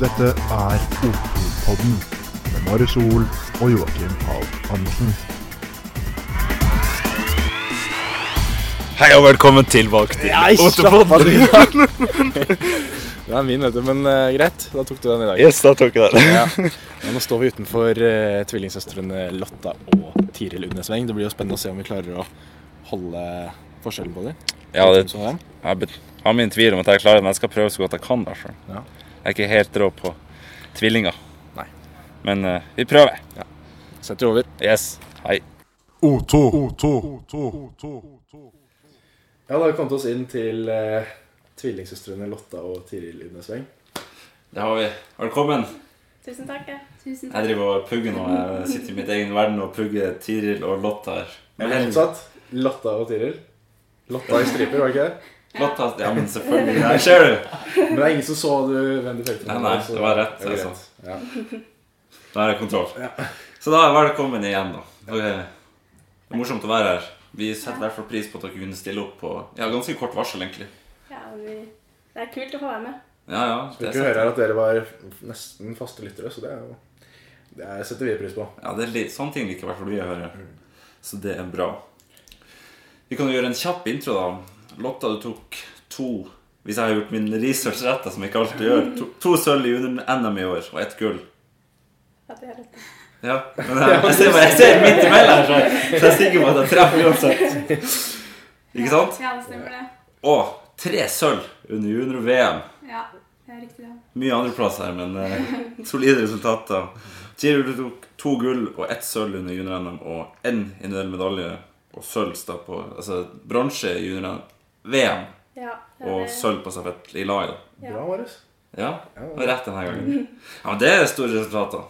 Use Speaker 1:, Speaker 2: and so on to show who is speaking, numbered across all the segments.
Speaker 1: Dette er Otopodden med Marius Sol og Joakim Pahl Andersen.
Speaker 2: Hei og velkommen tilbake til
Speaker 3: Nei, slapp av.
Speaker 2: Otterpodden.
Speaker 3: Den er min, vet du. Men eh, greit, da tok du den i dag.
Speaker 2: Yes, da tok jeg den.
Speaker 3: Ja. Men nå står vi utenfor eh, tvillingsøstrene Lotta og Tiril Undesveng. Det blir jo spennende å se om vi klarer å holde forskjellen på dem.
Speaker 2: Ja, det,
Speaker 3: Sånn der.
Speaker 2: jeg bet- har min tvil om at jeg klarer det, men jeg skal prøve så godt jeg kan. Derfor.
Speaker 3: Ja.
Speaker 2: Jeg er ikke helt rå på tvillinger.
Speaker 3: Nei.
Speaker 2: Men eh, vi prøver.
Speaker 3: Setter over.
Speaker 2: Yes. Hei.
Speaker 1: Oto.
Speaker 3: Ja, da har vi kommet oss inn til eh, tvillingsøstrene Lotta og Tiril Undesveng.
Speaker 2: Det har vi. Velkommen.
Speaker 4: Tusen takk. ja. Tusen
Speaker 2: Jeg driver og pugger nå. Jeg sitter i mitt egen verden og pugger Tiril og Lotta her.
Speaker 3: Eller motsatt. Lotta og Tiril. Lotta i striper, var det ikke det?
Speaker 2: Lotta, ja, men selvfølgelig. Her ser du.
Speaker 3: Men det er ingen som så du, hvem du pekte på.
Speaker 2: Nei, nei,
Speaker 3: så-
Speaker 2: det var rett,
Speaker 3: Det var altså.
Speaker 2: jeg
Speaker 3: greit. Ja.
Speaker 2: Da er det kontroll. Så da, velkommen igjen, da. Dere- Det er morsomt å være her. Vi setter i hvert fall pris på at dere kunne stille opp på ja, ganske kort varsel, egentlig.
Speaker 4: Ja, vi... Det er kult å få være med.
Speaker 2: Ja, ja.
Speaker 3: Fikk jo
Speaker 2: setter-
Speaker 3: høre her at dere var nesten faste lyttere, så det er jo Det er- setter vi pris på.
Speaker 2: Ja, det er litt, sånne ting liker i hvert fall vi å høre. Så det er bra. Vi kan jo gjøre en kjapp intro, da. Lotta, du tok to Hvis jeg har gjort min research rett, da, som jeg ikke alltid gjør. To, to sølv i under-NM i år, og ett gull.
Speaker 4: At vi har dette.
Speaker 2: Ja, men jeg, jeg, ser, jeg ser midt imellom her, så jeg, så jeg er sikker på at jeg treffer uansett. Ikke sant?
Speaker 4: Ja, det stemmer det.
Speaker 2: Og tre sølv under junior-VM.
Speaker 4: Ja, det er riktig. det.
Speaker 2: Mye andreplass her, men eh, solide resultater. Giro du tok to gull og ett sølv under junior-NM og én individuell medalje og sølv da på Altså bronse i junior-VM
Speaker 4: Ja, det er
Speaker 2: og
Speaker 4: det.
Speaker 2: sølv på stafett i lag. da.
Speaker 4: Ja.
Speaker 3: Bra, Marius.
Speaker 2: Ja,
Speaker 3: Ja,
Speaker 2: det var rett denne gangen. Ja, men Det er store resultater.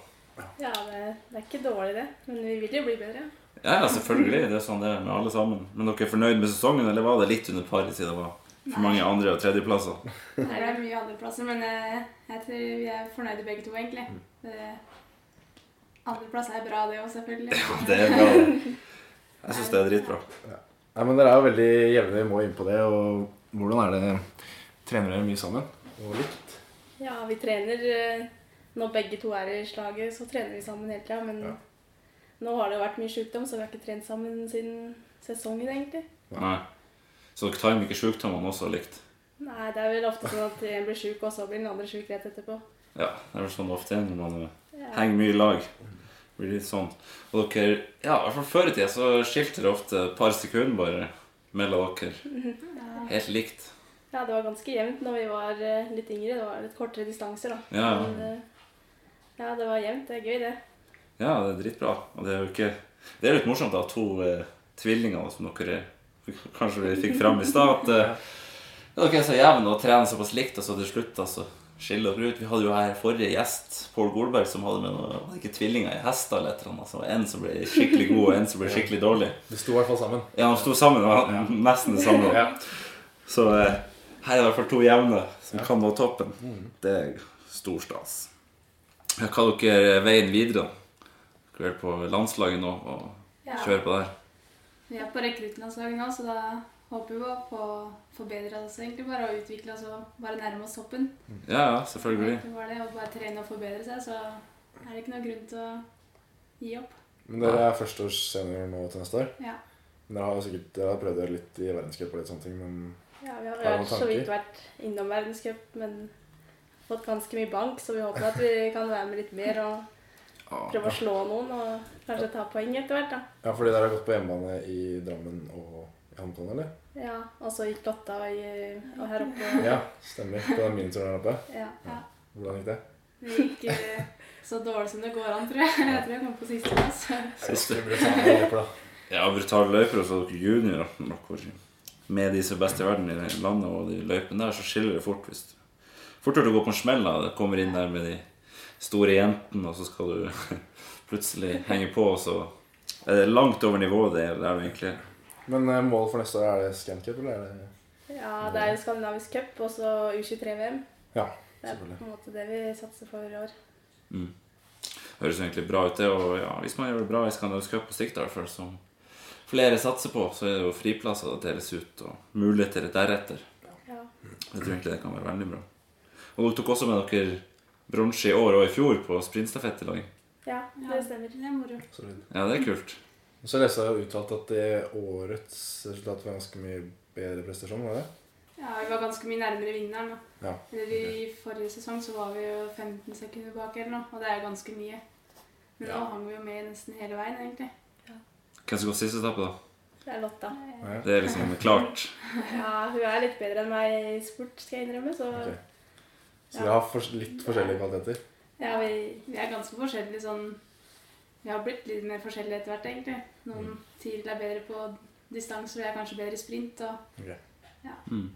Speaker 4: Ja, det, det er ikke dårlig, det. Men vi vil jo bli bedre.
Speaker 2: Ja, ja, selvfølgelig. Det er sånn det er med alle sammen. Men dere er fornøyd med sesongen, eller var det litt under paret siden det var for mange andre- og tredjeplasser?
Speaker 5: Nei, det er mye andreplasser, men eh, jeg tror vi er fornøyde begge to, egentlig. Det- Andreplass er bra, det òg, selvfølgelig.
Speaker 2: Det er bra. det. Jeg syns det er dritbra.
Speaker 3: Nei, men Dere er jo veldig jevne, vi må inn på det. og Hvordan er det Trener dere mye sammen? Og likt?
Speaker 4: Ja, vi trener eh, Når begge to er i slaget, så trener vi sammen hele tida. Men
Speaker 3: Ja.
Speaker 4: nå har det jo vært mye sjukdom, så vi har ikke trent sammen siden sesongen, egentlig.
Speaker 2: Nei. Så dere timer ikke sjukdommene også likt?
Speaker 4: Nei, det er vel ofte sånn at en blir sjuk, og så blir den andre sjuk rett etterpå.
Speaker 2: Ja, det er vel sånn det ofte er når man eh,
Speaker 4: Ja.
Speaker 2: henger mye i lag. Blir litt sånn. Og dere Ja, i hvert fall før i tida så skilte det ofte et par sekunder bare mellom dere. Helt likt.
Speaker 4: Ja, det var ganske jevnt når vi var eh, litt yngre. Det var litt kortere distanser, da.
Speaker 2: Ja, ja.
Speaker 4: Men, eh, ja, det var jevnt. Det er gøy, det.
Speaker 2: Ja, det er dritbra. Og det er jo ikke Det er litt morsomt å ha to eh, tvillinger som dere kanskje vi fikk fram i stad. At eh, ja, dere er så jevne og trener såpass likt, og så til slutt altså, skiller dere ut. Vi hadde jo her forrige gjest, Pål Golberg, som hadde med noe, hadde ikke tvillinger i hester eller et eller annet. Så en som ble skikkelig god, og en som ble skikkelig dårlig.
Speaker 3: Det sto i hvert fall sammen.
Speaker 2: Ja, de sto sammen og hadde nesten det samme.
Speaker 3: Ja.
Speaker 2: Så eh, her er det i hvert fall to jevne som kan nå toppen. Det er stor stas. Ja, Hva er dere er veien videre? da? Dere er på landslaget nå og
Speaker 5: Ja.
Speaker 2: kjører på der.
Speaker 5: Vi er på rekruttlandslaget nå, så da håper vi å få forbedre oss egentlig bare og utvikle oss og bare nærme oss toppen.
Speaker 2: Ja, ja,
Speaker 5: Det er
Speaker 2: selvfølgelig.
Speaker 5: egentlig bare det, og bare trene og forbedre seg, så er det ikke noe grunn til å gi opp.
Speaker 3: Men Dere er førsteårssenior nå til neste år.
Speaker 5: Ja.
Speaker 3: Men Dere har jo sikkert dere har prøvd dere litt i verdenscup og litt sånne ting, men
Speaker 4: Ja, vi har
Speaker 3: Har du noen
Speaker 4: vært, så
Speaker 3: tanker?
Speaker 4: vidt vært innom verdenscup, men fått ganske mye bank, så vi håper at vi kan være med litt mer og
Speaker 2: Ah.
Speaker 4: prøve å slå noen og kanskje ta poeng etter hvert, da.
Speaker 3: Ja, fordi dere har gått på hjemmebane i Drammen og i Hamton, eller?
Speaker 4: Ja, og så gikk Lotta og, jeg- og her oppe.
Speaker 3: Ja, stemmer. På den minituren her oppe.
Speaker 4: Ja.
Speaker 5: ja.
Speaker 3: Hvordan gikk det?
Speaker 5: Det gikk eh, så dårlig som det går an, tror jeg. Jeg tror jeg kom på sisteplass.
Speaker 2: Siste.
Speaker 3: Siste.
Speaker 2: Ja, brutale løyper, og så dere juniorer. dere. Med de som er best i verden i landet og de løypene der, så skiller det fort. hvis du Fort gjort å gå på en smell. da. Det kommer inn der med de store jentene, og så skal du plutselig henge på, og så er det langt over nivået det er der du egentlig er.
Speaker 3: Men eh, målet for neste år, er det Scancup, eller er det
Speaker 4: Ja, det er jo skandinavisk cup og så U23-VM.
Speaker 3: Ja,
Speaker 4: Det er på
Speaker 3: selvfølgelig.
Speaker 4: en måte det vi satser for i år.
Speaker 2: høres jo egentlig bra ut, det. Og ja, hvis man gjør det bra i Skandinavisk Cup på sikt, i hvert fall, som flere satser på, så er det jo friplasser det deles ut, og muligheter deretter.
Speaker 4: Ja.
Speaker 2: Jeg tror egentlig det kan være veldig bra. Og dere tok også med dere bronse i år og i fjor på sprintstafett i lag.
Speaker 4: Ja, det stemmer.
Speaker 5: Det er moro.
Speaker 3: Solid.
Speaker 2: Ja, det er kult.
Speaker 3: Og så leste jeg jo uttalt at det årets resultat var ganske mye bedre prestasjon, var det?
Speaker 5: Ja, vi var ganske mye nærmere vinneren. da.
Speaker 3: Ja.
Speaker 5: Eller I forrige sesong så var vi jo 15 sekunder bak eller noe, og det er jo ganske mye. Men nå
Speaker 3: Ja.
Speaker 5: hang vi jo med nesten hele veien, egentlig.
Speaker 2: Hvem som går sist etappe, da?
Speaker 4: Det er Lotta.
Speaker 3: Ja.
Speaker 2: Det er liksom klart.
Speaker 4: Ja, hun er litt bedre enn meg i sport, skal jeg innrømme, så
Speaker 3: Ok. Så dere har fors litt forskjellige kvaliteter?
Speaker 4: ja, vi
Speaker 5: Vi er ganske forskjellige sånn Vi har blitt litt mer forskjellige etter hvert, egentlig. Noen
Speaker 3: Mm.
Speaker 5: tidligere er bedre på distanser, og jeg er kanskje bedre i sprint. Og
Speaker 3: Ok.
Speaker 2: Mm.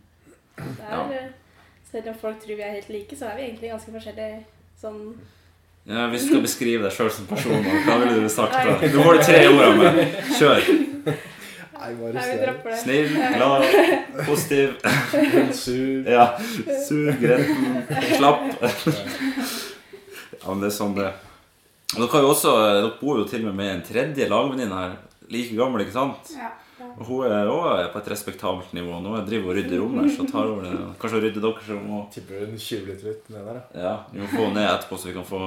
Speaker 4: det er eh, Selv om folk tror vi er helt like, så er vi egentlig ganske forskjellige sånn
Speaker 2: Ja, Hvis du skal beskrive deg sjøl som person, da, hva ville du sagt da? Du får de tre ordene med. Kjør.
Speaker 3: Nei, bare
Speaker 4: Nei, vi
Speaker 3: ser.
Speaker 4: dropper det.
Speaker 2: Snill, glad, positiv.
Speaker 3: Sur.
Speaker 2: Ja. Sug, gretten, slapp. Ja, men det er sånn det er. Og Dere, har jo også, dere bor jo til og med med en tredje lagvenninne her. Like gammel, ikke sant?
Speaker 5: ja.
Speaker 2: Og Hun er òg på et respektabelt nivå. Nå Jeg driver og rydder rom her, så tar hun det. Kanskje hun rydder deres rom òg.
Speaker 3: Tipper en 20 liter litt ned der, da.
Speaker 2: Ja, vi må få henne ned etterpå, så vi kan få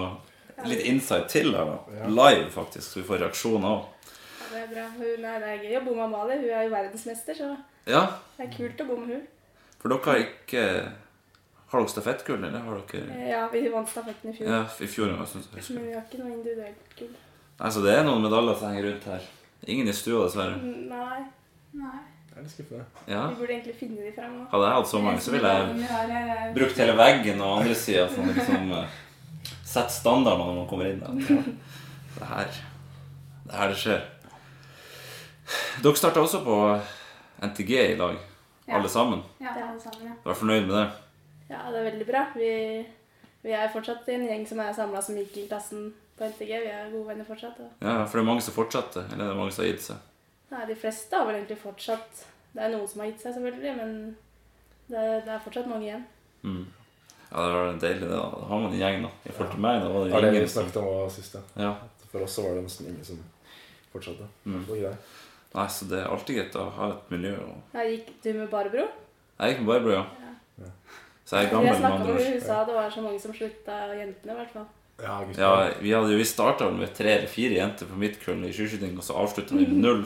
Speaker 2: litt insight til her. da
Speaker 3: Ja.
Speaker 2: Live, faktisk, så vi får reaksjoner òg.
Speaker 4: Ja, det er bra. Hun er, det er gøy å bo med Amalie. Hun er jo verdensmester, så
Speaker 2: Ja,
Speaker 4: det er kult å bo med hun.
Speaker 2: for dere har ikke Har dere stafettgull, eller har dere
Speaker 4: Eh, Ja, vi vant stafetten i fjor,
Speaker 2: Ja, i fjor en gang, syns jeg.
Speaker 4: men vi har ikke noe individuelt gull.
Speaker 2: Nei, så Altså, det er noen medaljer som henger rundt her. Ingen i stua, dessverre.
Speaker 4: Nei,
Speaker 5: Nei.
Speaker 3: Jeg er litt skuffende.
Speaker 2: Ja.
Speaker 4: vi burde egentlig finne de fram nå.
Speaker 2: Hadde jeg hatt så mange, så ville jeg
Speaker 5: Vi har, eh,
Speaker 2: brukt hele veggen og andre sida for å liksom eh, sette standarden når man kommer inn der. Det er her det, er her det skjer. Dere starta også på NTG i dag,
Speaker 5: Ja.
Speaker 2: alle sammen.
Speaker 5: Ja, alle sammen, ja.
Speaker 2: Vær fornøyd med det.
Speaker 4: Ja, det er veldig bra. Vi, vi er fortsatt en gjeng som er samla som gikk i klassen på NTG. Vi er gode venner fortsatt. Og
Speaker 2: Ja, For det er mange som fortsetter. Eller det er mange som har gitt seg.
Speaker 4: nei, de fleste har vel egentlig fortsatt Det er noen som har gitt seg, selvfølgelig, men det, det er fortsatt mange igjen.
Speaker 2: Mm. Ja, Det var deilig, det. da. Da har man en gjeng, da. I forhold til meg, da var
Speaker 3: Det
Speaker 2: det
Speaker 3: var det vi
Speaker 2: ingen som
Speaker 3: snakket om også sist, ja.
Speaker 2: ja.
Speaker 3: For oss så var det nesten ingen som fortsatte.
Speaker 2: Mm.
Speaker 3: Og ikke deg.
Speaker 2: Nei, Så det er alltid greit å ha et miljø. Og...
Speaker 4: Her gikk du med Barbro.
Speaker 2: Jeg gikk med Barbro, ja.
Speaker 3: Ja.
Speaker 2: Så jeg er gammel,
Speaker 4: Jeg
Speaker 2: med
Speaker 4: snakka med
Speaker 2: andre
Speaker 4: henne,
Speaker 2: ord.
Speaker 4: hun sa det var så mange som slutta, jentene i hvert fall.
Speaker 3: Ja, gutter.
Speaker 2: Ja, vi hadde jo, vi starta med tre eller fire jenter på mitt kull i skiskyting, og så avslutta
Speaker 4: Mhm.
Speaker 2: vi med null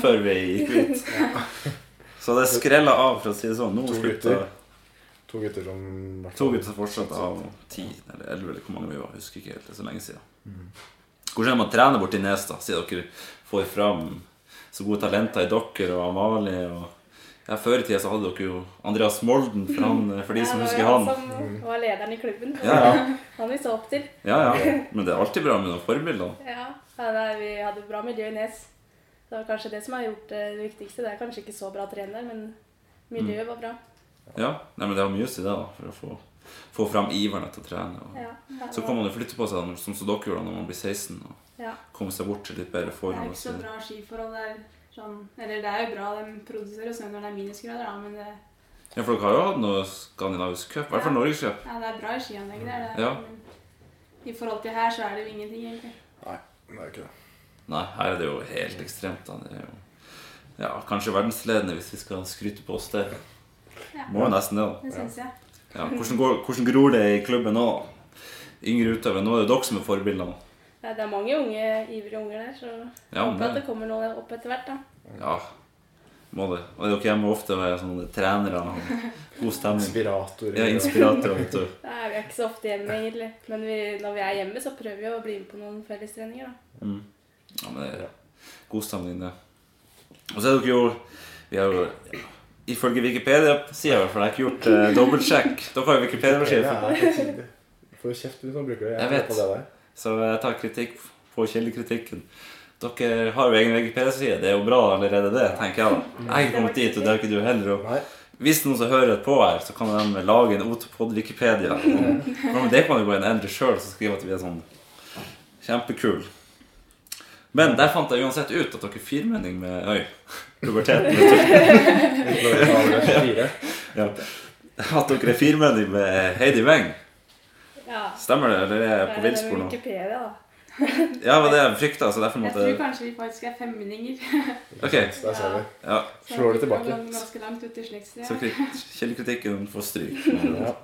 Speaker 2: før vi gikk ut. Så det skrella av, for å si det sånn. Nå
Speaker 3: To
Speaker 2: slutta
Speaker 3: gutter. To gutter som hvert
Speaker 2: to
Speaker 3: fall-
Speaker 2: gutter som fortsatte av ti eller elleve, eller hvor mange vi var. Jeg husker ikke helt, det er så lenge siden.
Speaker 3: Mhm.
Speaker 2: Hvordan er det man trener borti Nes, da, siden dere får fram så gode talenter i dere og Amalie og ja, Før i tida så hadde dere jo Andreas Molden, for, han, for de som
Speaker 4: Ja, det
Speaker 2: husker
Speaker 4: var
Speaker 2: han.
Speaker 4: Som var lederen i klubben.
Speaker 2: Ja, ja.
Speaker 4: Han vi så opp til.
Speaker 2: Ja, ja. Men det er alltid bra med noen forbilder.
Speaker 4: Ja, ja, nei, Vi hadde bra miljø i Nes. Det var kanskje det som har gjort eh, det viktigste. Det er kanskje ikke så bra trener, men miljøet
Speaker 2: Mm.
Speaker 4: var bra.
Speaker 2: Ja, Nei, men det har mye å si, det, da, for å få, få fram iveren etter å trene. Og.
Speaker 4: Ja, det
Speaker 2: Så
Speaker 4: var-
Speaker 2: kan man jo flytte på seg, sånn som dere gjorde da man blir 16, og
Speaker 4: Ja.
Speaker 2: komme seg bort til litt bedre
Speaker 5: Det er
Speaker 2: forhold. og
Speaker 5: ikke så
Speaker 2: så-
Speaker 5: bra skiforhold. Det er sånn Eller det er jo bra de produserer snø når det er minusgrader, da, men det,
Speaker 2: Ja, for dere har jo hatt noe skandinavisk cup, i hvert fall Norgescup.
Speaker 5: ja, det er bra i skianlegg, det er det.
Speaker 2: Ja.
Speaker 5: Men i forhold til her, så er det jo ingenting, egentlig.
Speaker 3: Nei, det er ikke det.
Speaker 2: Nei, her er det jo helt ekstremt. da. Det er jo ja, kanskje verdensledende, hvis vi skal skryte på oss det.
Speaker 5: Ja.
Speaker 2: Må jo nesten det, da.
Speaker 5: Det syns jeg.
Speaker 2: Ja, hvordan, går, hvordan gror det i klubben nå? Yngre utøvere. Nå er det dere som er forbildene.
Speaker 4: Nei, det er mange unge, ivrige unger der, så jeg
Speaker 2: Ja, men
Speaker 4: håper
Speaker 2: det-
Speaker 4: at det kommer noe opp etter hvert. da.
Speaker 2: Ja, må det. Og dere hjemme ofte med sånne trenere og god stemning.
Speaker 3: Inspirator.
Speaker 2: Ja, inspiratorer, vet du.
Speaker 4: Da er vi ikke så ofte hjemme, egentlig. Men vi, når vi er hjemme, så prøver vi å bli med på noen fellestreninger. da.
Speaker 2: Mm. Ja, men det er god stemning, det. Og så er dere jo Vi har jo Ifølge Wikipedia-sida, i hvert fall. Jeg har ikke gjort eh, dobbeltsjekk. Dere har jo Wikipedia-sida,
Speaker 3: Wikipedia. Får kjeft hvis man bruker det.
Speaker 2: Jeg
Speaker 3: hører
Speaker 2: vet.
Speaker 3: på det der.
Speaker 2: så jeg tar kritikk på kildekritikken. Dere har jo egen Wikipedia-side. Det er jo bra allerede, det, tenker jeg. da. Jeg har ikke kommet dit, og det har ikke du heller. Og
Speaker 3: Nei,
Speaker 2: Hvis noen som hører på her, så kan de lage en Otopod Wikipedia. Men det kan jo gå en endre sjøl som skriver at vi er sånn kjempekul. Men der fant jeg uansett ut at dere er firmenning med Øy. Puberteten. vet
Speaker 3: vi prøver å ha det fire.
Speaker 2: du. Ja. At dere er firmenning med Heidi Weng.
Speaker 4: Ja,
Speaker 2: Stemmer det, eller er jeg på
Speaker 4: det med
Speaker 2: villspor nå?
Speaker 4: Wikipedia, da.
Speaker 2: Ja, det var det jeg frykta, så derfor
Speaker 5: Jeg tror
Speaker 2: måtte
Speaker 5: kanskje vi faktisk er femmenninger.
Speaker 2: Ok.
Speaker 3: Der ser vi.
Speaker 2: Ja,
Speaker 5: Så
Speaker 3: Slår det
Speaker 5: vi kom
Speaker 3: tilbake.
Speaker 5: Ganske langt ut i slektstida.
Speaker 2: så kri- kildekritikken får stryk.
Speaker 3: Ja.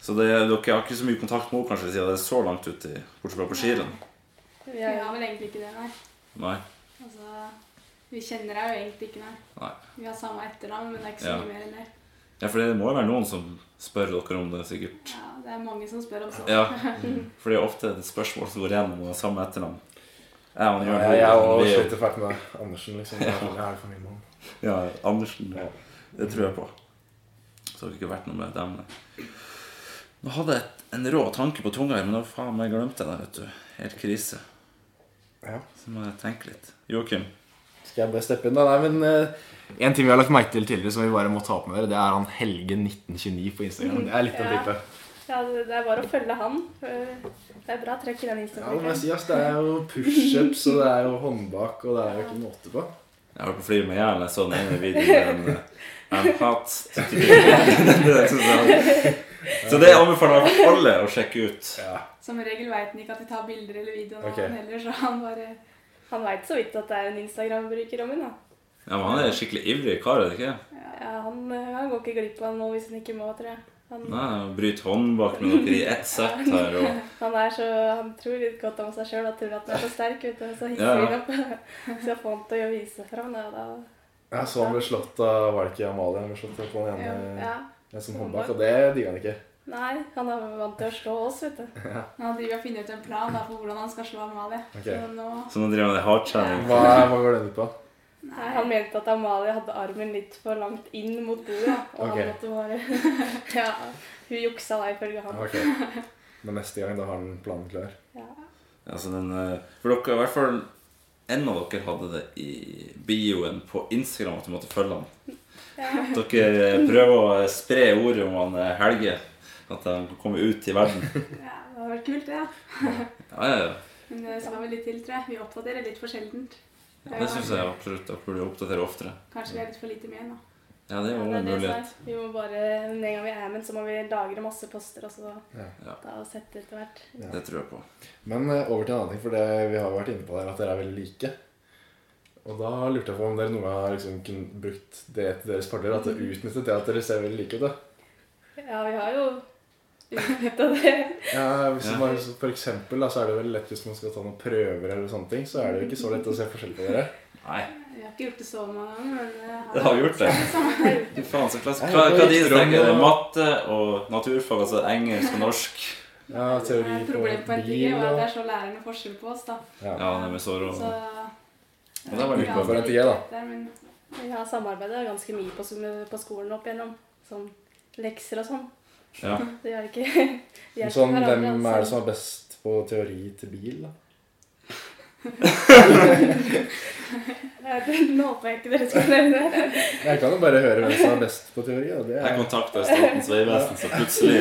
Speaker 2: Så det, dere har ikke så mye kontakt med henne kanskje siden det er så langt ut i, bortsett fra på skirenn?
Speaker 4: Vi
Speaker 5: Vi
Speaker 4: er
Speaker 5: har vel egentlig ikke det, nei.
Speaker 2: Nei.
Speaker 5: Altså, vi kjenner deg jo egentlig ikke, nei.
Speaker 2: Nei.
Speaker 5: Vi har samme etternavn, men det er ikke så
Speaker 2: Ja.
Speaker 5: mye mer enn det.
Speaker 2: Ja, for det må jo være noen som spør dere om det, sikkert.
Speaker 5: Ja, det er mange som spør om sånt.
Speaker 2: Ja, for det er ofte et spørsmål som går igjen om det er samme etternavn. Jeg og Jørn
Speaker 3: Ja, jeg òg
Speaker 2: vi er jo-
Speaker 3: sliter fælt med det. Andersen, liksom. Det er sånn, Jeg er familiemann.
Speaker 2: Ja, Andersen. Det, det tror jeg på. Så det har ikke vært noe med dem. nei. Nå hadde jeg et- en rå tanke på tunga, her, men nå faen meg glemte jeg det. vet du. Helt krise.
Speaker 3: Ja.
Speaker 2: Så må jeg tenke litt. Joakim.
Speaker 6: Skal jeg bare steppe inn, da? Nei, men eh, En ting vi har lagt merke til tidligere, som vi bare må ta opp med dere, det er han Helge1929 på Instagram. Det er litt av en
Speaker 4: Ja.
Speaker 6: type.
Speaker 4: Ja, det det er bare å følge han. Det er bra trøkk i den
Speaker 3: Ja, det må jeg
Speaker 4: Instagram.
Speaker 3: si, ass. Det er jo pushups, og det er jo håndbak, og det er jo ikke måte på.
Speaker 2: Jeg var på flyet med Jæren. Jeg så den ene videoen. med en, eh, I'm hot. Det synes jeg. Så det anbefaler jeg alle å sjekke ut.
Speaker 5: Som regel veit han ikke at vi tar bilder eller videoer av
Speaker 3: Ok.
Speaker 5: han heller, så han bare
Speaker 4: Han veit så vidt at det er en Instagram-bruker om henne. da.
Speaker 2: Ja, men Han er en skikkelig ivrig kar, er det ikke?
Speaker 4: Ja, han, eh, han går ikke glipp av noe hvis han ikke må, tror jeg. Han,
Speaker 2: Nei, han Bryter håndbak med dere i ett sett her. og...
Speaker 4: han, er så, han tror litt godt om seg sjøl og tror at han er så sterk. Vet du, og så hisser
Speaker 2: Ja,
Speaker 4: han
Speaker 2: ja.
Speaker 4: opp. Så jeg får han til å vise seg fram. Da, da.
Speaker 3: Jeg så han ble slått av Var det ikke Amalie han ble slått av på den ene
Speaker 4: Ja.
Speaker 3: en sånn håndbak? Og det digga han ikke.
Speaker 4: Nei, han er vant til å slå oss, vet du.
Speaker 5: Han driver og finner ut en plan da, for hvordan han skal slå Amalie.
Speaker 3: Ok.
Speaker 5: Så nå
Speaker 2: Så nå driver han med hardtrening.
Speaker 3: Hva, hva går den ut på?
Speaker 4: Nei, han mente at Amalie hadde armen litt for langt inn mot bordet. da, Og
Speaker 3: Ok.
Speaker 4: han måtte bare Ja, hun juksa da ifølge han.
Speaker 3: Ok. Men neste gang, da har han planen klar.
Speaker 4: Ja.
Speaker 2: Altså, den, eh, for dere, i hvert fall en av dere hadde det i bioen på Instagram at du måtte følge han.
Speaker 4: Ja.
Speaker 2: Dere eh, prøver å spre ordet om han eh, Helge. At han kommer ut i verden.
Speaker 5: Ja, det har vært kult, det. Ja.
Speaker 2: Ja, ja, ja.
Speaker 5: Men det skal vel litt til, tror jeg. Vi oppdaterer litt for sjeldent.
Speaker 2: Det syns jeg absolutt dere burde oppdatere oftere.
Speaker 5: Kanskje vi er litt for lite med nå.
Speaker 2: Ja, det er
Speaker 4: Ja,
Speaker 2: jo
Speaker 4: det er
Speaker 2: en
Speaker 4: det som
Speaker 2: mulighet.
Speaker 4: er. Vi må bare, Den gang vi er med, så må vi lagre masse poster og så
Speaker 2: Ja.
Speaker 4: da sette etter hvert.
Speaker 3: Ja.
Speaker 2: Det tror jeg på.
Speaker 3: Men eh, over til en annen ting, for det, vi har jo vært inne på der at dere er veldig like. Og da lurte jeg på om dere noen gang har liksom kun brukt det til deres fordel, at dere utnyttet det at dere ser veldig like ut. da.
Speaker 4: Ja, vi har jo utnytta det.
Speaker 3: Ja, hvis
Speaker 2: Ja.
Speaker 3: man, for eksempel da, så er det veldig lett hvis man skal ta noen prøver eller sånne ting, så er det jo ikke så lett å se forskjell på dere.
Speaker 2: Nei,
Speaker 5: Vi har ikke gjort det så mange ganger, men eh,
Speaker 2: det har gjort det. Fy faen, så klasse. Hva, hva de
Speaker 3: Jeg har
Speaker 2: tenker, det er
Speaker 3: og-
Speaker 2: matte og naturfag, altså engelsk og norsk.
Speaker 3: Ja, teori på
Speaker 5: Problemet eh, på en ting
Speaker 3: bil
Speaker 5: er jo at
Speaker 3: og
Speaker 5: det er så lærerne forskjell på oss, da.
Speaker 2: Ja, det med så rå.
Speaker 5: Så
Speaker 2: Ja, det var litt
Speaker 5: Ja,
Speaker 3: for en
Speaker 5: så
Speaker 3: ting, da.
Speaker 5: litt der, men- eh,
Speaker 4: Vi har samarbeida ganske mye på, som- på skolen opp igjennom. Sånn lekser og sånn.
Speaker 2: Ja.
Speaker 4: Det har ikke vi
Speaker 3: Men
Speaker 4: hjelper
Speaker 3: Sånn,
Speaker 4: hverandre,
Speaker 3: hvem
Speaker 4: altså.
Speaker 3: er det som er best på teori til bil, da?
Speaker 4: Nå håper jeg ikke dere skal nevne det.
Speaker 3: Jeg kan jo bare høre hvem som er best på teori. da. Det
Speaker 2: Jeg
Speaker 3: er...
Speaker 2: kontakta Statens vegvesen, så plutselig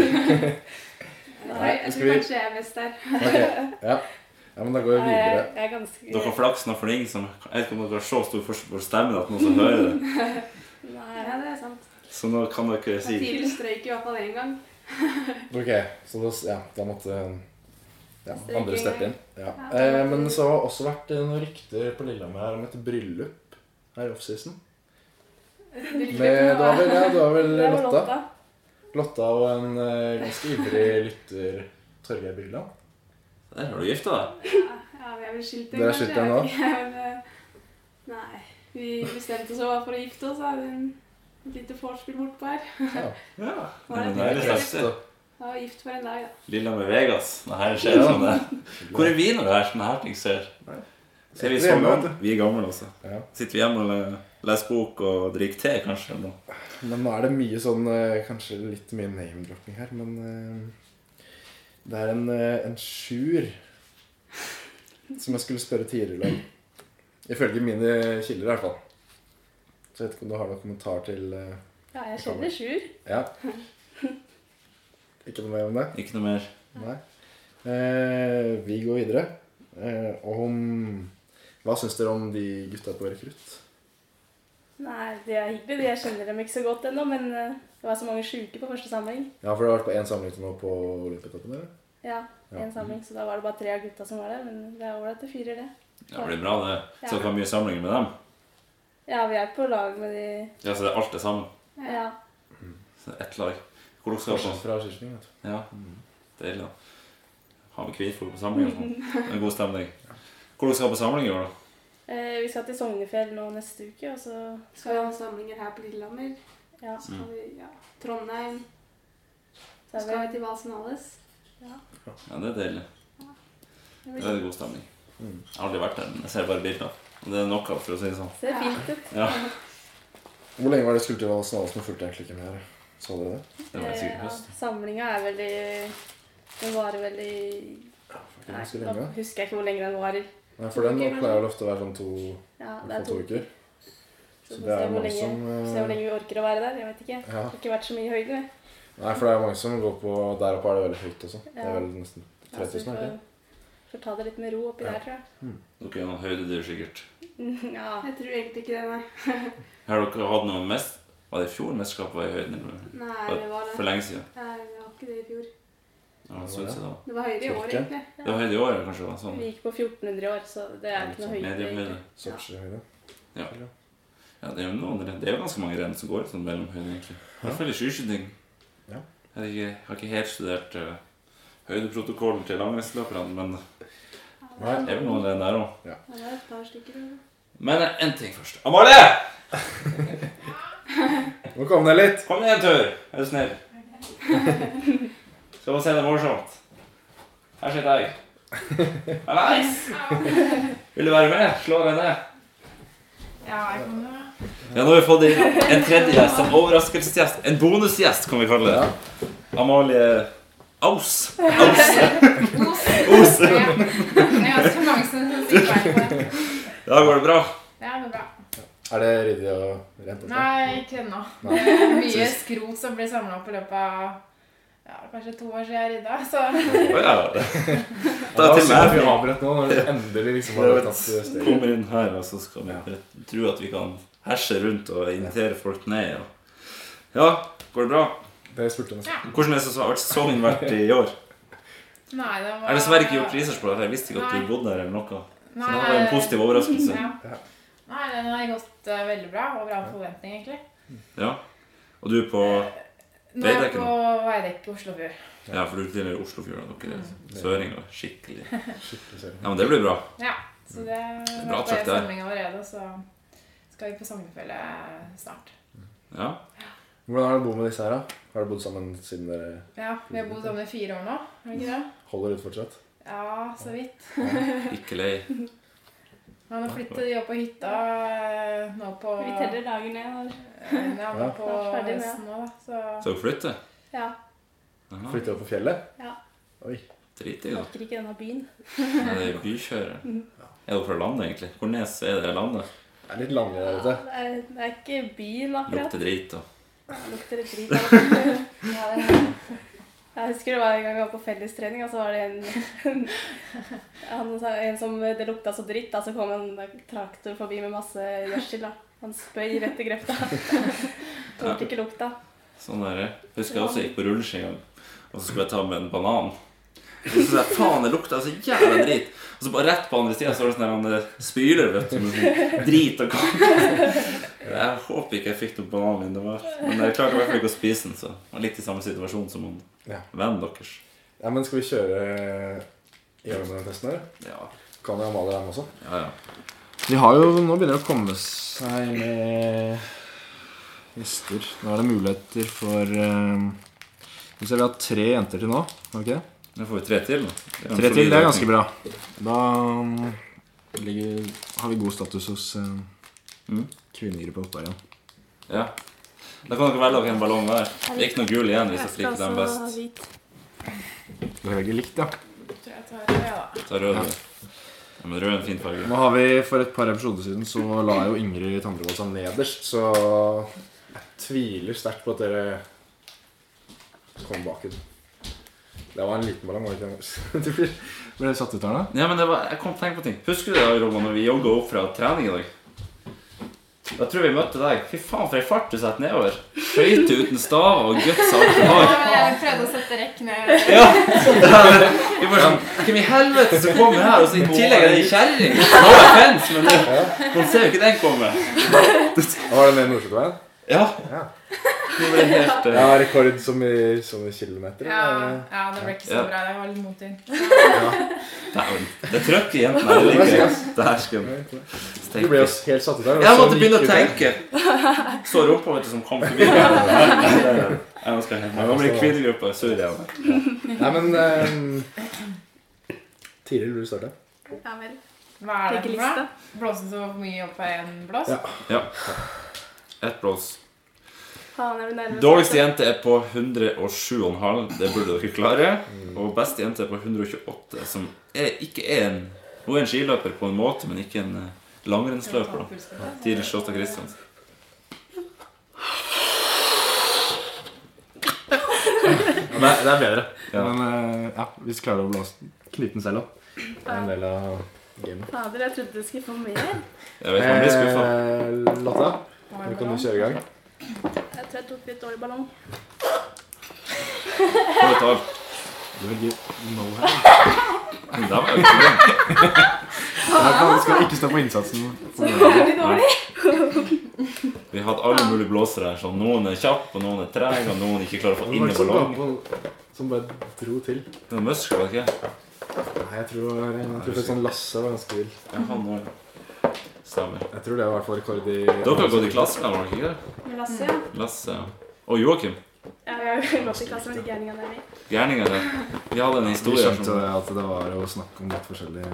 Speaker 5: Nei, jeg
Speaker 3: skal
Speaker 5: tror
Speaker 3: vi-
Speaker 5: kanskje jeg er best der.
Speaker 3: Ok, ja. ja, men da
Speaker 5: Eh,
Speaker 3: går vi
Speaker 4: Nei, Jeg,
Speaker 3: videre.
Speaker 4: jeg er ganske
Speaker 2: Dere flaksen og for ingen som Jeg vet ikke om dere har så stor forskjell på stemmen at noen som hører det.
Speaker 5: Ja,
Speaker 4: Nei.
Speaker 5: det er sant.
Speaker 2: Så nå kan dere si
Speaker 5: Tidligere strøyk i hvert fall én gang.
Speaker 3: Ok, så da, ja, da måtte ja, andre steppe inn. Ja.
Speaker 5: Ja.
Speaker 3: Eh, men så har det også vært eh, noen rykter på Lillehammer her om et bryllup her i offseason. Med- Det var vel, ja, det var vel
Speaker 4: Det var
Speaker 3: Lotta.
Speaker 4: Lotta.
Speaker 3: Lotta og en eh, ganske ivrig lytter Torgeir Bygland.
Speaker 2: Der har du gifta deg.
Speaker 5: Ja, vi er vel skilt
Speaker 3: Dere er skilt
Speaker 5: jeg
Speaker 3: igjen
Speaker 5: vet ikke, men, eh, Nei. Vi bestemte oss for å gifte oss. da. Det er en- Et lite vorspiel bortpå her.
Speaker 2: Ja.
Speaker 5: Var det?
Speaker 2: men Det er litt
Speaker 3: Kreft,
Speaker 2: heftig.
Speaker 3: og-
Speaker 5: Da var vi gift for en dag, da.
Speaker 2: Lilla med Vegas. Det her skjer sånn det. Hvor er vi når det her sånne her ting skjer?
Speaker 3: Nei.
Speaker 2: Så er vi
Speaker 3: Vi er
Speaker 2: så
Speaker 3: hjemme,
Speaker 2: gamle.
Speaker 3: vet
Speaker 2: Vi er gamle, altså.
Speaker 3: Ja.
Speaker 2: Sitter vi hjemme og le- leser bok og drikker te, kanskje? Eller noe.
Speaker 3: Men nå er det mye sånn eh, Kanskje litt mye name-dropping her, men eh, Det er en, eh, en sjur som jeg skulle spørre tidligere om. Ifølge mine kilder, i hvert fall. Så jeg vet ikke om du har noen kommentar til eh,
Speaker 4: Ja, jeg kjenner Sjur.
Speaker 3: Ja. Ikke noe mer om det?
Speaker 2: Ikke noe mer.
Speaker 3: Nei. Eh, vi går videre. Eh, om Hva syns dere om de gutta på rekrutt?
Speaker 4: Nei, de er hyggelige. de. Jeg kjenner dem ikke så godt ennå, men eh, det var så mange sjuke på første samling.
Speaker 3: Ja, for det har vært på én samling til nå på Olympiatoppen, eller?
Speaker 4: Ja,
Speaker 3: Ja.
Speaker 4: en samling, så da var det bare tre av gutta som var der, men det er ålreit til fire, det.
Speaker 2: Ja, det blir bra, det. Så dere har mye samlinger med dem.
Speaker 4: Ja, vi er på lag med de
Speaker 2: Ja, så det er alt det samme.
Speaker 4: Ja.
Speaker 2: Så det er ett lag. Polokskapen.
Speaker 3: Fra Kirsten, vet du.
Speaker 2: Ja. Deilig, da. Har vi hvitfolk på samling og sånn? Det er God stemning. Hvor dere skal på samling i år, da?
Speaker 4: Eh, vi skal til Sognefjell nå neste uke, og så
Speaker 5: Skal vi ha samlinger her på Lillehammer?
Speaker 4: Ja.
Speaker 5: Så
Speaker 2: Mm.
Speaker 5: skal vi, ja. Trondheim.
Speaker 4: så
Speaker 5: Så
Speaker 4: er
Speaker 5: skal
Speaker 4: vi
Speaker 5: vi til Vasenales.
Speaker 2: Ja, det er deilig. Mm.
Speaker 5: Det
Speaker 2: Det
Speaker 5: blir
Speaker 2: er god stemning. Jeg har aldri vært der, men jeg ser bare bilder. Og det er nok av, for å si det sånn.
Speaker 4: Ser fint ut.
Speaker 2: Ja,
Speaker 3: Hvor lenge var det skulle til Valsnalen som fulgte egentlig ikke med her? Så dere det?
Speaker 2: det var sikkert
Speaker 4: Eh, ja,
Speaker 2: høst.
Speaker 4: Samlinga er veldig Den varer veldig
Speaker 3: Ikke
Speaker 4: Nei,
Speaker 3: ganske
Speaker 4: nå
Speaker 3: lenge.
Speaker 4: husker jeg ikke hvor lenge den varer.
Speaker 3: Nei, for den pleier vel ofte å være sånn to,
Speaker 4: Ja, det
Speaker 3: to,
Speaker 4: er to
Speaker 3: uker.
Speaker 4: Så
Speaker 3: Så
Speaker 4: får
Speaker 3: det
Speaker 4: vi se
Speaker 3: er
Speaker 4: hvor
Speaker 3: mange
Speaker 4: lenge,
Speaker 3: som
Speaker 4: får se hvor
Speaker 3: eh,
Speaker 4: lenge vi orker å være der. Jeg vet ikke.
Speaker 3: ja.
Speaker 4: Det har ikke vært så mye i høyden. vi.
Speaker 3: Nei, for det er mange som går på Der oppe er det veldig høyt også. Det er
Speaker 4: Ja.
Speaker 3: vel nesten
Speaker 4: Ja, så vi
Speaker 3: 3000, er det ikke?
Speaker 4: får, får ta det litt med ro oppi
Speaker 3: Ja.
Speaker 4: der, tror jeg.
Speaker 2: Dere er noen høydedyr, sikkert.
Speaker 4: Ja.
Speaker 5: Jeg tror egentlig ikke det, nei.
Speaker 2: Har dere hatt noe mest Var det i fjor mesterskapet var i høyden? eller?
Speaker 5: Nei, det var
Speaker 2: For
Speaker 5: det.
Speaker 2: lenge siden.
Speaker 5: Nei, det var ikke det i fjor.
Speaker 2: Ja, det, synes jeg da.
Speaker 5: Det var høyere i år,
Speaker 3: Tolke.
Speaker 5: egentlig.
Speaker 2: det var høyde i år, kanskje. det var Sånn.
Speaker 4: Vi gikk på 1400 i år, så det er ikke noe høyde.
Speaker 2: Medium-høyde.
Speaker 4: egentlig.
Speaker 3: Sotsji høyre.
Speaker 2: Ja, det er jo noen renn. Det er jo ganske mange renn som går sånn mellom høyden, egentlig. I hvert fall i skiskyting.
Speaker 3: Ja.
Speaker 2: Jeg har ikke, har ikke helt studert eh, høydeprotokollen til langrennsløperne, men
Speaker 3: Nei.
Speaker 2: det er vel noen renn der òg.
Speaker 5: Det var et par stykker. eller?
Speaker 2: Men én ting først. Amalie!
Speaker 3: Nå kom det litt!
Speaker 2: Kom igjen en tur, er du snill. Skal vi se det morsomt. Her sitter jeg. Nice! Vil du være med? Slå deg ned. Ja, nå har vi fått inn en tredje gjest, en overraskelsesgjest. En bonusgjest, kan vi kalle det. Amalie Aus. Aus. Os. Da går det bra.
Speaker 3: Er det ryddig og rent? opp der?
Speaker 7: Nei, ikke ennå.
Speaker 3: Nei.
Speaker 7: Det er Mye skrot som ble samla opp i løpet av ja, kanskje to år siden jeg rydda. Så
Speaker 2: Å ja.
Speaker 3: Ja,
Speaker 2: Da er til
Speaker 3: synd
Speaker 2: meg.
Speaker 3: at vi avbrøt nå, når det endelig liksom har tatt steget.
Speaker 2: kommer inn her, og så skal vi tro at vi kan herse rundt og invitere folk ned. Og... Ja, går det bra?
Speaker 3: Det spurte jeg om.
Speaker 2: Hvordan er det så- har sesongen vært i år?
Speaker 7: nei, det var
Speaker 2: Jeg har dessverre ikke gjort research på det, for jeg visste ikke at du bodde her eller noe. Så det var en positiv overraskelse.
Speaker 7: Ja. Nei, den har gått eh, veldig bra. Over all forventning, egentlig.
Speaker 2: Ja. Og du er på
Speaker 7: Nå er jeg
Speaker 2: Veidekke
Speaker 7: på Veidekke Oslofjord.
Speaker 2: Ja, for du er tidligere i Oslofjorden. Dere er søringer. Skikkelig. Ja,
Speaker 3: Skikkelig serie.
Speaker 2: men det blir bra.
Speaker 7: Ja, så det, det
Speaker 2: bra
Speaker 7: er
Speaker 2: trøkk der.
Speaker 7: samling allerede, så skal vi på Sognefjellet snart.
Speaker 2: Ja.
Speaker 3: Hvordan har du bodd med disse her, da? Har dere bodd sammen siden dere
Speaker 7: Ja, Vi har bodd sammen i fire år nå, har vi ikke det?
Speaker 3: holder ut fortsatt?
Speaker 7: Ja, så vidt.
Speaker 2: Ikke lei.
Speaker 7: Men nå flytter de opp på hytta eh, nå på
Speaker 4: Vi teller dager ned. og-
Speaker 7: Ja, nå
Speaker 3: Ja.
Speaker 7: på
Speaker 4: Snart ferdig med.
Speaker 7: høsten nå, da. Så
Speaker 2: Så dere flytter?
Speaker 4: Ja.
Speaker 2: Jaha.
Speaker 3: Flytter opp på fjellet?
Speaker 2: Dritig, da.
Speaker 4: Orker ikke denne byen.
Speaker 2: Ja, det er bykjører. Er dere fra landet, egentlig? Hvor nes er det landet?
Speaker 3: Det er litt langere der
Speaker 4: Det
Speaker 3: ute.
Speaker 4: er, det er ikke byen, akkurat.
Speaker 2: Lukter drit og
Speaker 4: Det lukter litt drit. av det. Jeg husker det var en gang jeg var på fellestrening, og så var det en, han, sa- en som Det lukta så dritt, da, så kom en traktor forbi med masse gjødsel. da. Han spøy rett i grøfta. Tålte ikke lukta.
Speaker 2: Sånn er det. Jeg husker jeg også gikk på rulleski en gang, og så skulle jeg ta med en banan. Og så sa jeg, faen, det lukter så jævla drit. Og så bare rett på andre sida står det sånn der, han, eh, spyler, vet du. Med sånn drit og kake. Jeg håper ikke jeg fikk noen banan min. Det var. Men jeg klarte i hvert fall ikke å spise den, så jeg var litt i samme situasjon som han
Speaker 3: Ja.
Speaker 2: vennen deres.
Speaker 3: Ja, men skal vi kjøre eh, i gang med den testen her?
Speaker 2: Ja,
Speaker 3: Kan jeg male dem også?
Speaker 2: ja, ja.
Speaker 6: De har jo, Nå begynner det å komme seg med gjester. Nå er det muligheter for eh, Skal vi se, vi har tre jenter til nå. har vi ikke det?
Speaker 2: Nå får vi tre til. nå. Det er en
Speaker 6: Tre
Speaker 2: solid
Speaker 6: til, det er
Speaker 2: økning.
Speaker 6: ganske bra. Da mm, ligger, har vi god status hos eh,
Speaker 2: Mm.
Speaker 6: kvinnegruppa Ottar igjen.
Speaker 2: Ja. Da kan dere velge dere en ballong hver. Det er ikke noe gul igjen hvis dere liker den best.
Speaker 4: hvit.
Speaker 6: Det er veldig likt, ja.
Speaker 7: tror jeg tar det, da.
Speaker 2: Ta rød. du. Ja, men rød er en fin farge.
Speaker 6: Nå har vi, For et par episoder siden så la jo Ingrid Tandrevold seg nederst, så jeg tviler sterkt på at dere kom bak henne.
Speaker 3: Det var en liten ballong, var det ikke det?
Speaker 6: Du blir, ble satt ut her, da?
Speaker 2: Ja, men det var, jeg kom til å tenke på ting. Husker du det, Robin, når vi jogga opp fra trening i dag? Da tror jeg vi møtte deg. Fy faen, for ei fart du setter nedover. Skøyter uten staver og guts og alt du har.
Speaker 7: Jeg prøvde å sette rekk ned.
Speaker 2: Ja! Vi bare sånn Hvem i helvete som kommer her? Og så i tillegg er det ei kjerring! No offense, men det- man ser jo ikke den komme.
Speaker 3: Var det ned Nordsjøveien?
Speaker 2: Ja.
Speaker 3: Ja.
Speaker 2: Det ble helt eh,
Speaker 8: Ja, rekord som i, som i kilometer.
Speaker 7: Ja,
Speaker 8: eller?
Speaker 7: ja, det ble ikke så
Speaker 2: Ja.
Speaker 7: bra. Jeg var litt motvind.
Speaker 2: Dæven. Det er trøkk i jentene. her, Jeg liker det. Det her skal
Speaker 8: Du ble jo helt satt ut der.
Speaker 2: Jeg måtte begynne å tenke. Så rumpa vet du, som kom forbi. Jeg må skal hjem. Jeg blir kvinnegruppa i Syria.
Speaker 8: Nei, men eh, Tiril, vil du starte?
Speaker 4: Ja vel.
Speaker 7: Hva er det for noe?
Speaker 4: Tenkeliste.
Speaker 7: Blåste så mye opp av en blås?
Speaker 8: Ja.
Speaker 2: Ett blås.
Speaker 4: Faen, er du nervøs?
Speaker 2: Dårligste jente er på 107,5. Det burde dere klare. Og beste jente er på 128, som er, ikke er en Hun er en skiløper på en måte, men ikke en eh, langrennsløper. da. Tiril Slåstad Kristiansen.
Speaker 3: Det er, det er bedre.
Speaker 2: Ja.
Speaker 3: Men eh, ja, hvis vi klarer å blåse knyte den selv opp.
Speaker 8: Det er en del av gamet.
Speaker 4: Fader, jeg trodde du skulle få mer.
Speaker 2: Jeg vet man blir skuffa.
Speaker 8: Eh, Lotta,
Speaker 7: Hva er
Speaker 8: nå
Speaker 7: det
Speaker 8: kan
Speaker 7: for
Speaker 8: du kjøre i gang.
Speaker 4: Jeg tror jeg tok litt dårlig ballong.
Speaker 2: Får et alt.
Speaker 3: Du velger no hand.
Speaker 2: Men det var jo ikke det.
Speaker 3: Da kan- skal vi ikke stå på innsatsen.
Speaker 2: Vi har hatt alle mulige blåsere her. sånn Noen er kjappe, og noen er trege, og noen ikke klarer å få
Speaker 8: Hvem var
Speaker 2: inn i
Speaker 8: det som ga
Speaker 2: ballongen.
Speaker 8: på- Som bare dro til.
Speaker 2: Det var muskler, var det ikke?
Speaker 8: Nei, jeg tror, jeg tror sånn Lasse var ganske vill.
Speaker 2: Ja, han var det. Stemmer.
Speaker 8: Jeg tror det var i hvert fall rekord i
Speaker 2: Dere har gått i klasse med var dere ikke det?
Speaker 4: Med Lasse, ja.
Speaker 2: Lasse ja. og Joakim.
Speaker 4: Ja, Jeg har gått i klasse med de gærningene jeg er med i.
Speaker 2: Gærninger. der. Vi hadde en
Speaker 3: Vi
Speaker 2: historie sånn. Liksom. her
Speaker 3: skjønte
Speaker 2: som
Speaker 3: det at det var å snakke om litt forskjellig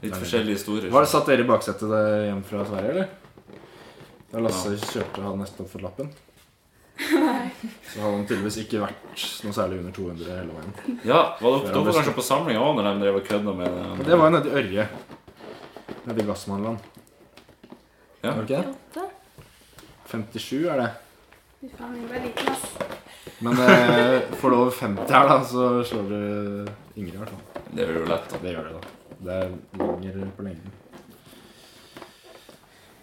Speaker 2: Litt forskjellige historier.
Speaker 3: Var det Satt dere i baksetet der hjem fra Sverige, eller? Da Lasse kjørte, hadde nesten fått lappen. Så hadde han tydeligvis ikke vært noe særlig under 200 hele veien.
Speaker 2: Ja, var dere,
Speaker 3: Før han
Speaker 2: dere
Speaker 3: ble
Speaker 2: kanskje på samling òg når de drev og kødda med den?
Speaker 3: Det var jo nede i Ørje. Nede i Gassmannland.
Speaker 2: Ja.
Speaker 3: Var det ikke det? 57 er det.
Speaker 4: Fy faen, jeg ble liten, ass.
Speaker 3: Men eh, får du over 50 her, da, så slår du Ingrid, i hvert fall.
Speaker 2: Det er jo lett. da.
Speaker 3: Det gjør det, da. Det er lenger på lengden.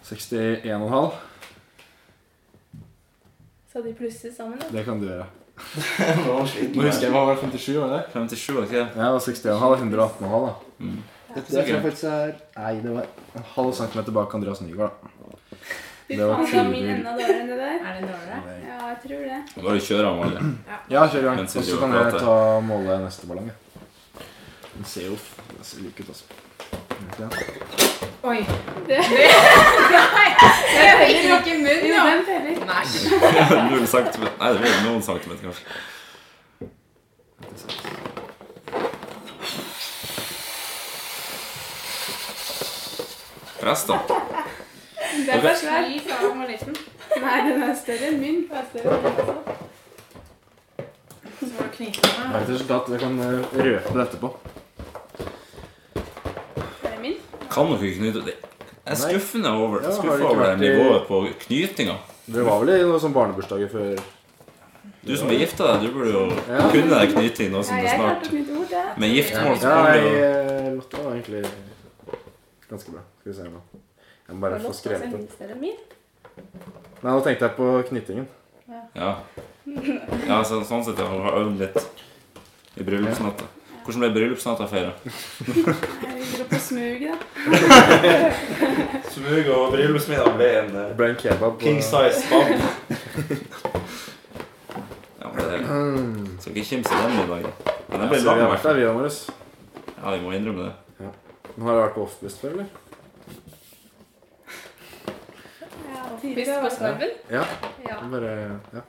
Speaker 3: 61,5.
Speaker 9: Så de plusser sammen, da.
Speaker 3: Det kan du gjøre.
Speaker 2: Nå husker jeg,
Speaker 3: hva var 57, var det?
Speaker 2: 57, var det ikke det? Mm.
Speaker 3: Ja, og 61,5 118,5, da.
Speaker 2: Det
Speaker 3: Det
Speaker 2: er
Speaker 3: tror jeg
Speaker 2: sikkert.
Speaker 3: faktisk er Nei, det var en halv centimeter bak Andreas Nygaard, da.
Speaker 4: Fy
Speaker 3: Det var
Speaker 4: faen, da er min
Speaker 3: tidlig.
Speaker 4: enda dårligere enn det der.
Speaker 7: Er det dårligere?
Speaker 4: Ja, jeg tror det.
Speaker 2: Bare kjøre han vanlig.
Speaker 3: Ja, kjør i gang.
Speaker 2: Mens
Speaker 3: Og så
Speaker 2: Silje
Speaker 3: kan
Speaker 2: prater.
Speaker 3: jeg ta måle neste ballong. jeg. Den ser jo f- den ser lik ut, altså. Gjør den ikke det?
Speaker 7: Oi. Det Nei! Det er ikke noe i munnen,
Speaker 4: Jo,
Speaker 7: ja.
Speaker 4: den teller.
Speaker 7: Nei.
Speaker 2: Null centimeter. Nei, det blir noen centimeter, kanskje. Forresten
Speaker 4: Den
Speaker 2: Ok.
Speaker 4: var svær.
Speaker 7: Fy faen, den var liten.
Speaker 4: Nei, den er større enn min. Den er større enn min også.
Speaker 7: Så var det
Speaker 3: Det
Speaker 7: knytene.
Speaker 3: er et resultat. Jeg kan eh, røpe det etterpå.
Speaker 4: Det er min.
Speaker 2: Kan dere ikke knyte det? Jeg er
Speaker 3: Nei.
Speaker 2: skuffende over,
Speaker 3: Ja, har
Speaker 2: skuffet
Speaker 3: det ikke
Speaker 2: over det
Speaker 3: vært i-
Speaker 2: nivået på knytinga.
Speaker 3: Dere var vel i noen sånn barnebursdager før
Speaker 2: Du som er gifta deg, du burde jo
Speaker 3: Ja.
Speaker 2: kunne deg knyting nå
Speaker 4: Ja,
Speaker 2: som det
Speaker 4: jeg
Speaker 2: snart
Speaker 4: klarte å knytte bort, ja.
Speaker 2: Med giftmål så
Speaker 3: Ja,
Speaker 2: kommer det
Speaker 3: jeg,
Speaker 2: jo
Speaker 3: eh, Lotta var egentlig ganske bra. Skal vi se nå. Jeg må bare
Speaker 9: Har
Speaker 3: få
Speaker 4: altså,
Speaker 9: Lotta
Speaker 3: skrevet
Speaker 9: sin
Speaker 3: det.
Speaker 9: minst eller min?
Speaker 3: Nei, nå tenkte jeg på knyttingen.
Speaker 2: Ja, ja så, sånn sett. Jeg har øvd litt i bryllupsnatta. Hvordan ble bryllupsnatta feira?
Speaker 4: Jeg dro på smuget, da.
Speaker 2: Smug og bryllupsmiddag ble en eh,
Speaker 8: Det ble en kebab. og-
Speaker 2: size bab. ja, men det er,
Speaker 8: Mm.
Speaker 2: skal ikke kimse den middagen. Men den
Speaker 3: Så
Speaker 2: ble
Speaker 3: vi
Speaker 2: lang, i
Speaker 3: har
Speaker 2: hvert
Speaker 3: vært
Speaker 2: fall.
Speaker 3: der, vi og Marius.
Speaker 2: Ja, vi må innrømme det.
Speaker 3: Men Har du vært på offbust før, eller?
Speaker 4: Ja,
Speaker 9: Hvis
Speaker 4: fire
Speaker 9: det
Speaker 4: år.
Speaker 9: var skarven?
Speaker 3: Ja.
Speaker 9: Ja.
Speaker 3: Jeg Bare ja.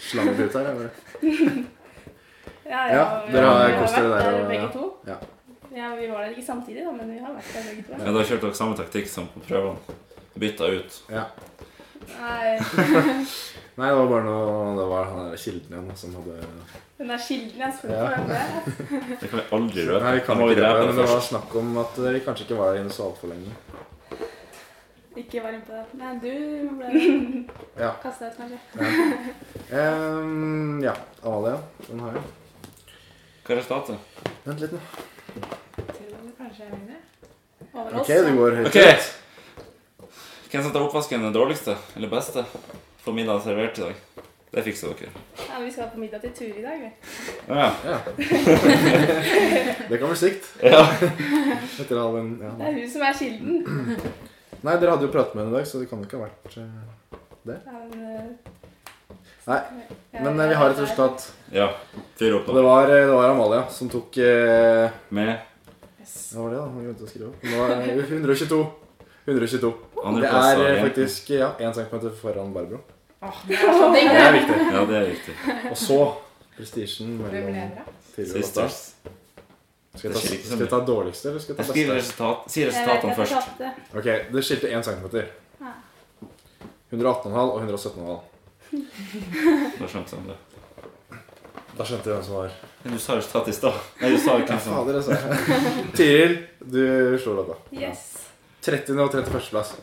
Speaker 3: slang det ut her. jeg Bare.
Speaker 9: Ja,
Speaker 3: Ja, dere har kost dere
Speaker 9: vært
Speaker 3: der og-
Speaker 9: begge to.
Speaker 3: ja.
Speaker 9: Ja, Vi var der ikke samtidig, da, men vi har vært der begge to.
Speaker 2: Ja, da kjørte dere samme taktikk som på prøvene. Bytta ut.
Speaker 9: Nei,
Speaker 3: Nei, det var bare noe Det var han der kilden igjen da, som hadde
Speaker 9: den der kilden jeg spurte
Speaker 3: Ja.
Speaker 9: på, hvem det er.
Speaker 2: Det kan vi aldri røpe.
Speaker 3: Nei, vi kan
Speaker 2: Da må
Speaker 3: ikke
Speaker 2: drepe
Speaker 3: røpe,
Speaker 2: den
Speaker 3: men det
Speaker 2: først.
Speaker 3: var snakk om at dere kanskje ikke var inne så altfor lenge.
Speaker 4: Ikke vær inne på det. Nei, du ble
Speaker 3: Ja.
Speaker 4: kasta ut, kanskje.
Speaker 3: Ehm, ja. Amalie, den har jeg.
Speaker 2: Hva er resultatet?
Speaker 3: Vent litt, nå.
Speaker 7: Kanskje jeg vinner?
Speaker 4: Over
Speaker 3: Ok,
Speaker 4: oss.
Speaker 3: det
Speaker 4: ja.
Speaker 3: går høyt.
Speaker 2: Ok! Hvem som tar oppvasken den dårligste eller beste? Får middagen servert i dag. Det fikser dere.
Speaker 9: Ja, vi skal på middag til Turi i dag. vi.
Speaker 2: Ja,
Speaker 3: Det kan bli sikt.
Speaker 2: ja.
Speaker 3: Etter all den ja.
Speaker 9: Det er hun som er kilden.
Speaker 3: Nei, dere hadde jo pratet med henne i dag, så det kan jo ikke ha vært eh,
Speaker 9: Han eh,
Speaker 3: Men eh, vi har et resultat.
Speaker 2: Ja, fyr opp
Speaker 3: Og
Speaker 2: nå.
Speaker 3: det var, eh, det var Amalia som tok eh,
Speaker 2: Med
Speaker 3: Hva var det, da? Jeg glemte å skrive opp. Det var eh, 122. 122. Det
Speaker 2: andreplass
Speaker 3: er
Speaker 2: av
Speaker 3: eh,
Speaker 2: jentene.
Speaker 3: faktisk ja, 1 cm foran Barbro.
Speaker 7: Åh, det er så digg.
Speaker 3: Det er viktig.
Speaker 2: Ja, det er riktig.
Speaker 3: Og så prestisjen
Speaker 7: Hvem
Speaker 3: mellom
Speaker 7: leder, da?
Speaker 3: tidligere og datter.
Speaker 2: Sisters.
Speaker 3: Skal
Speaker 2: Det
Speaker 3: jeg ta,
Speaker 2: skjer ikke så
Speaker 3: skal jeg ta dårligste, eller skal
Speaker 2: Jeg
Speaker 3: jeg ta
Speaker 2: skriver
Speaker 3: beste?
Speaker 2: resultat, sier
Speaker 5: Jeg vet
Speaker 2: resultatene
Speaker 5: at jeg
Speaker 2: først.
Speaker 5: tapte.
Speaker 3: Ok, Det skilte 1 cm. 118,5 og 117,5.
Speaker 2: Da skjønte jeg det.
Speaker 3: Da skjønte jeg hvem som var
Speaker 2: Men du sa resultat i stad. Nei, du sa jo
Speaker 3: Ja,
Speaker 2: hvem som
Speaker 3: fader, altså. Tiril, du slår låta.
Speaker 5: Yes.
Speaker 3: 30. og 31. plass.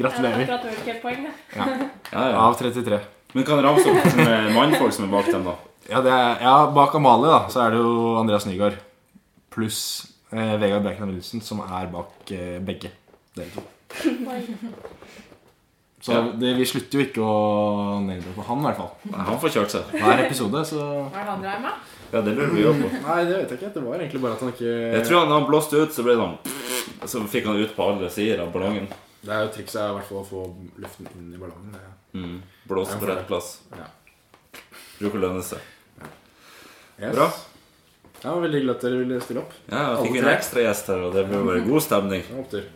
Speaker 6: Gratulerer.
Speaker 4: Akkurat nullpoeng, da.
Speaker 2: Ja, ja.
Speaker 6: Av 33.
Speaker 2: Men kan ramse opp som eh, mannfolk som er bak dem, da.
Speaker 6: Ja, det er, ja, bak Amalie da, så er det jo Andreas Nygaard pluss eh, Vegard Bjerkland Wilhelmsen, som er bak eh, begge dere to. Så
Speaker 2: Ja.
Speaker 6: det, vi slutter jo ikke å nedrope han, i hvert fall.
Speaker 2: Nei, han får kjørt seg.
Speaker 6: Hver episode, så
Speaker 7: Hva er det han dreier med?
Speaker 2: Ja, det lurer vi jo på.
Speaker 3: Nei, det vet jeg ikke. Det var egentlig bare at han ikke
Speaker 2: Jeg tror han, han blåste ut, så ble det sånn Så fikk han ut på alle sider av ballongen.
Speaker 3: Det er jo trikset er i hvert fall å få luften inn i ballongen. det er-
Speaker 2: Mm. Blåste på rett plass.
Speaker 3: Ja.
Speaker 2: Bruker å lønne seg.
Speaker 3: Yes.
Speaker 2: Bra.
Speaker 3: Ja, det var veldig hyggelig at dere ville stille opp.
Speaker 2: Ja, fikk vi en ekstra gjest her, og det ble bare god stemning.
Speaker 3: Det var Opptur.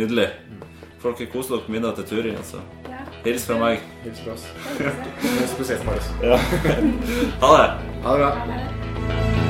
Speaker 2: Nydelig.
Speaker 3: Mm.
Speaker 2: Folk har kost dere med middag til Turid, altså.
Speaker 5: Ja.
Speaker 2: Hils fra meg.
Speaker 3: Hils fra oss. Spesielt Marius.
Speaker 2: Ha det.
Speaker 3: Ha det bra.
Speaker 5: Ha det.
Speaker 3: Ha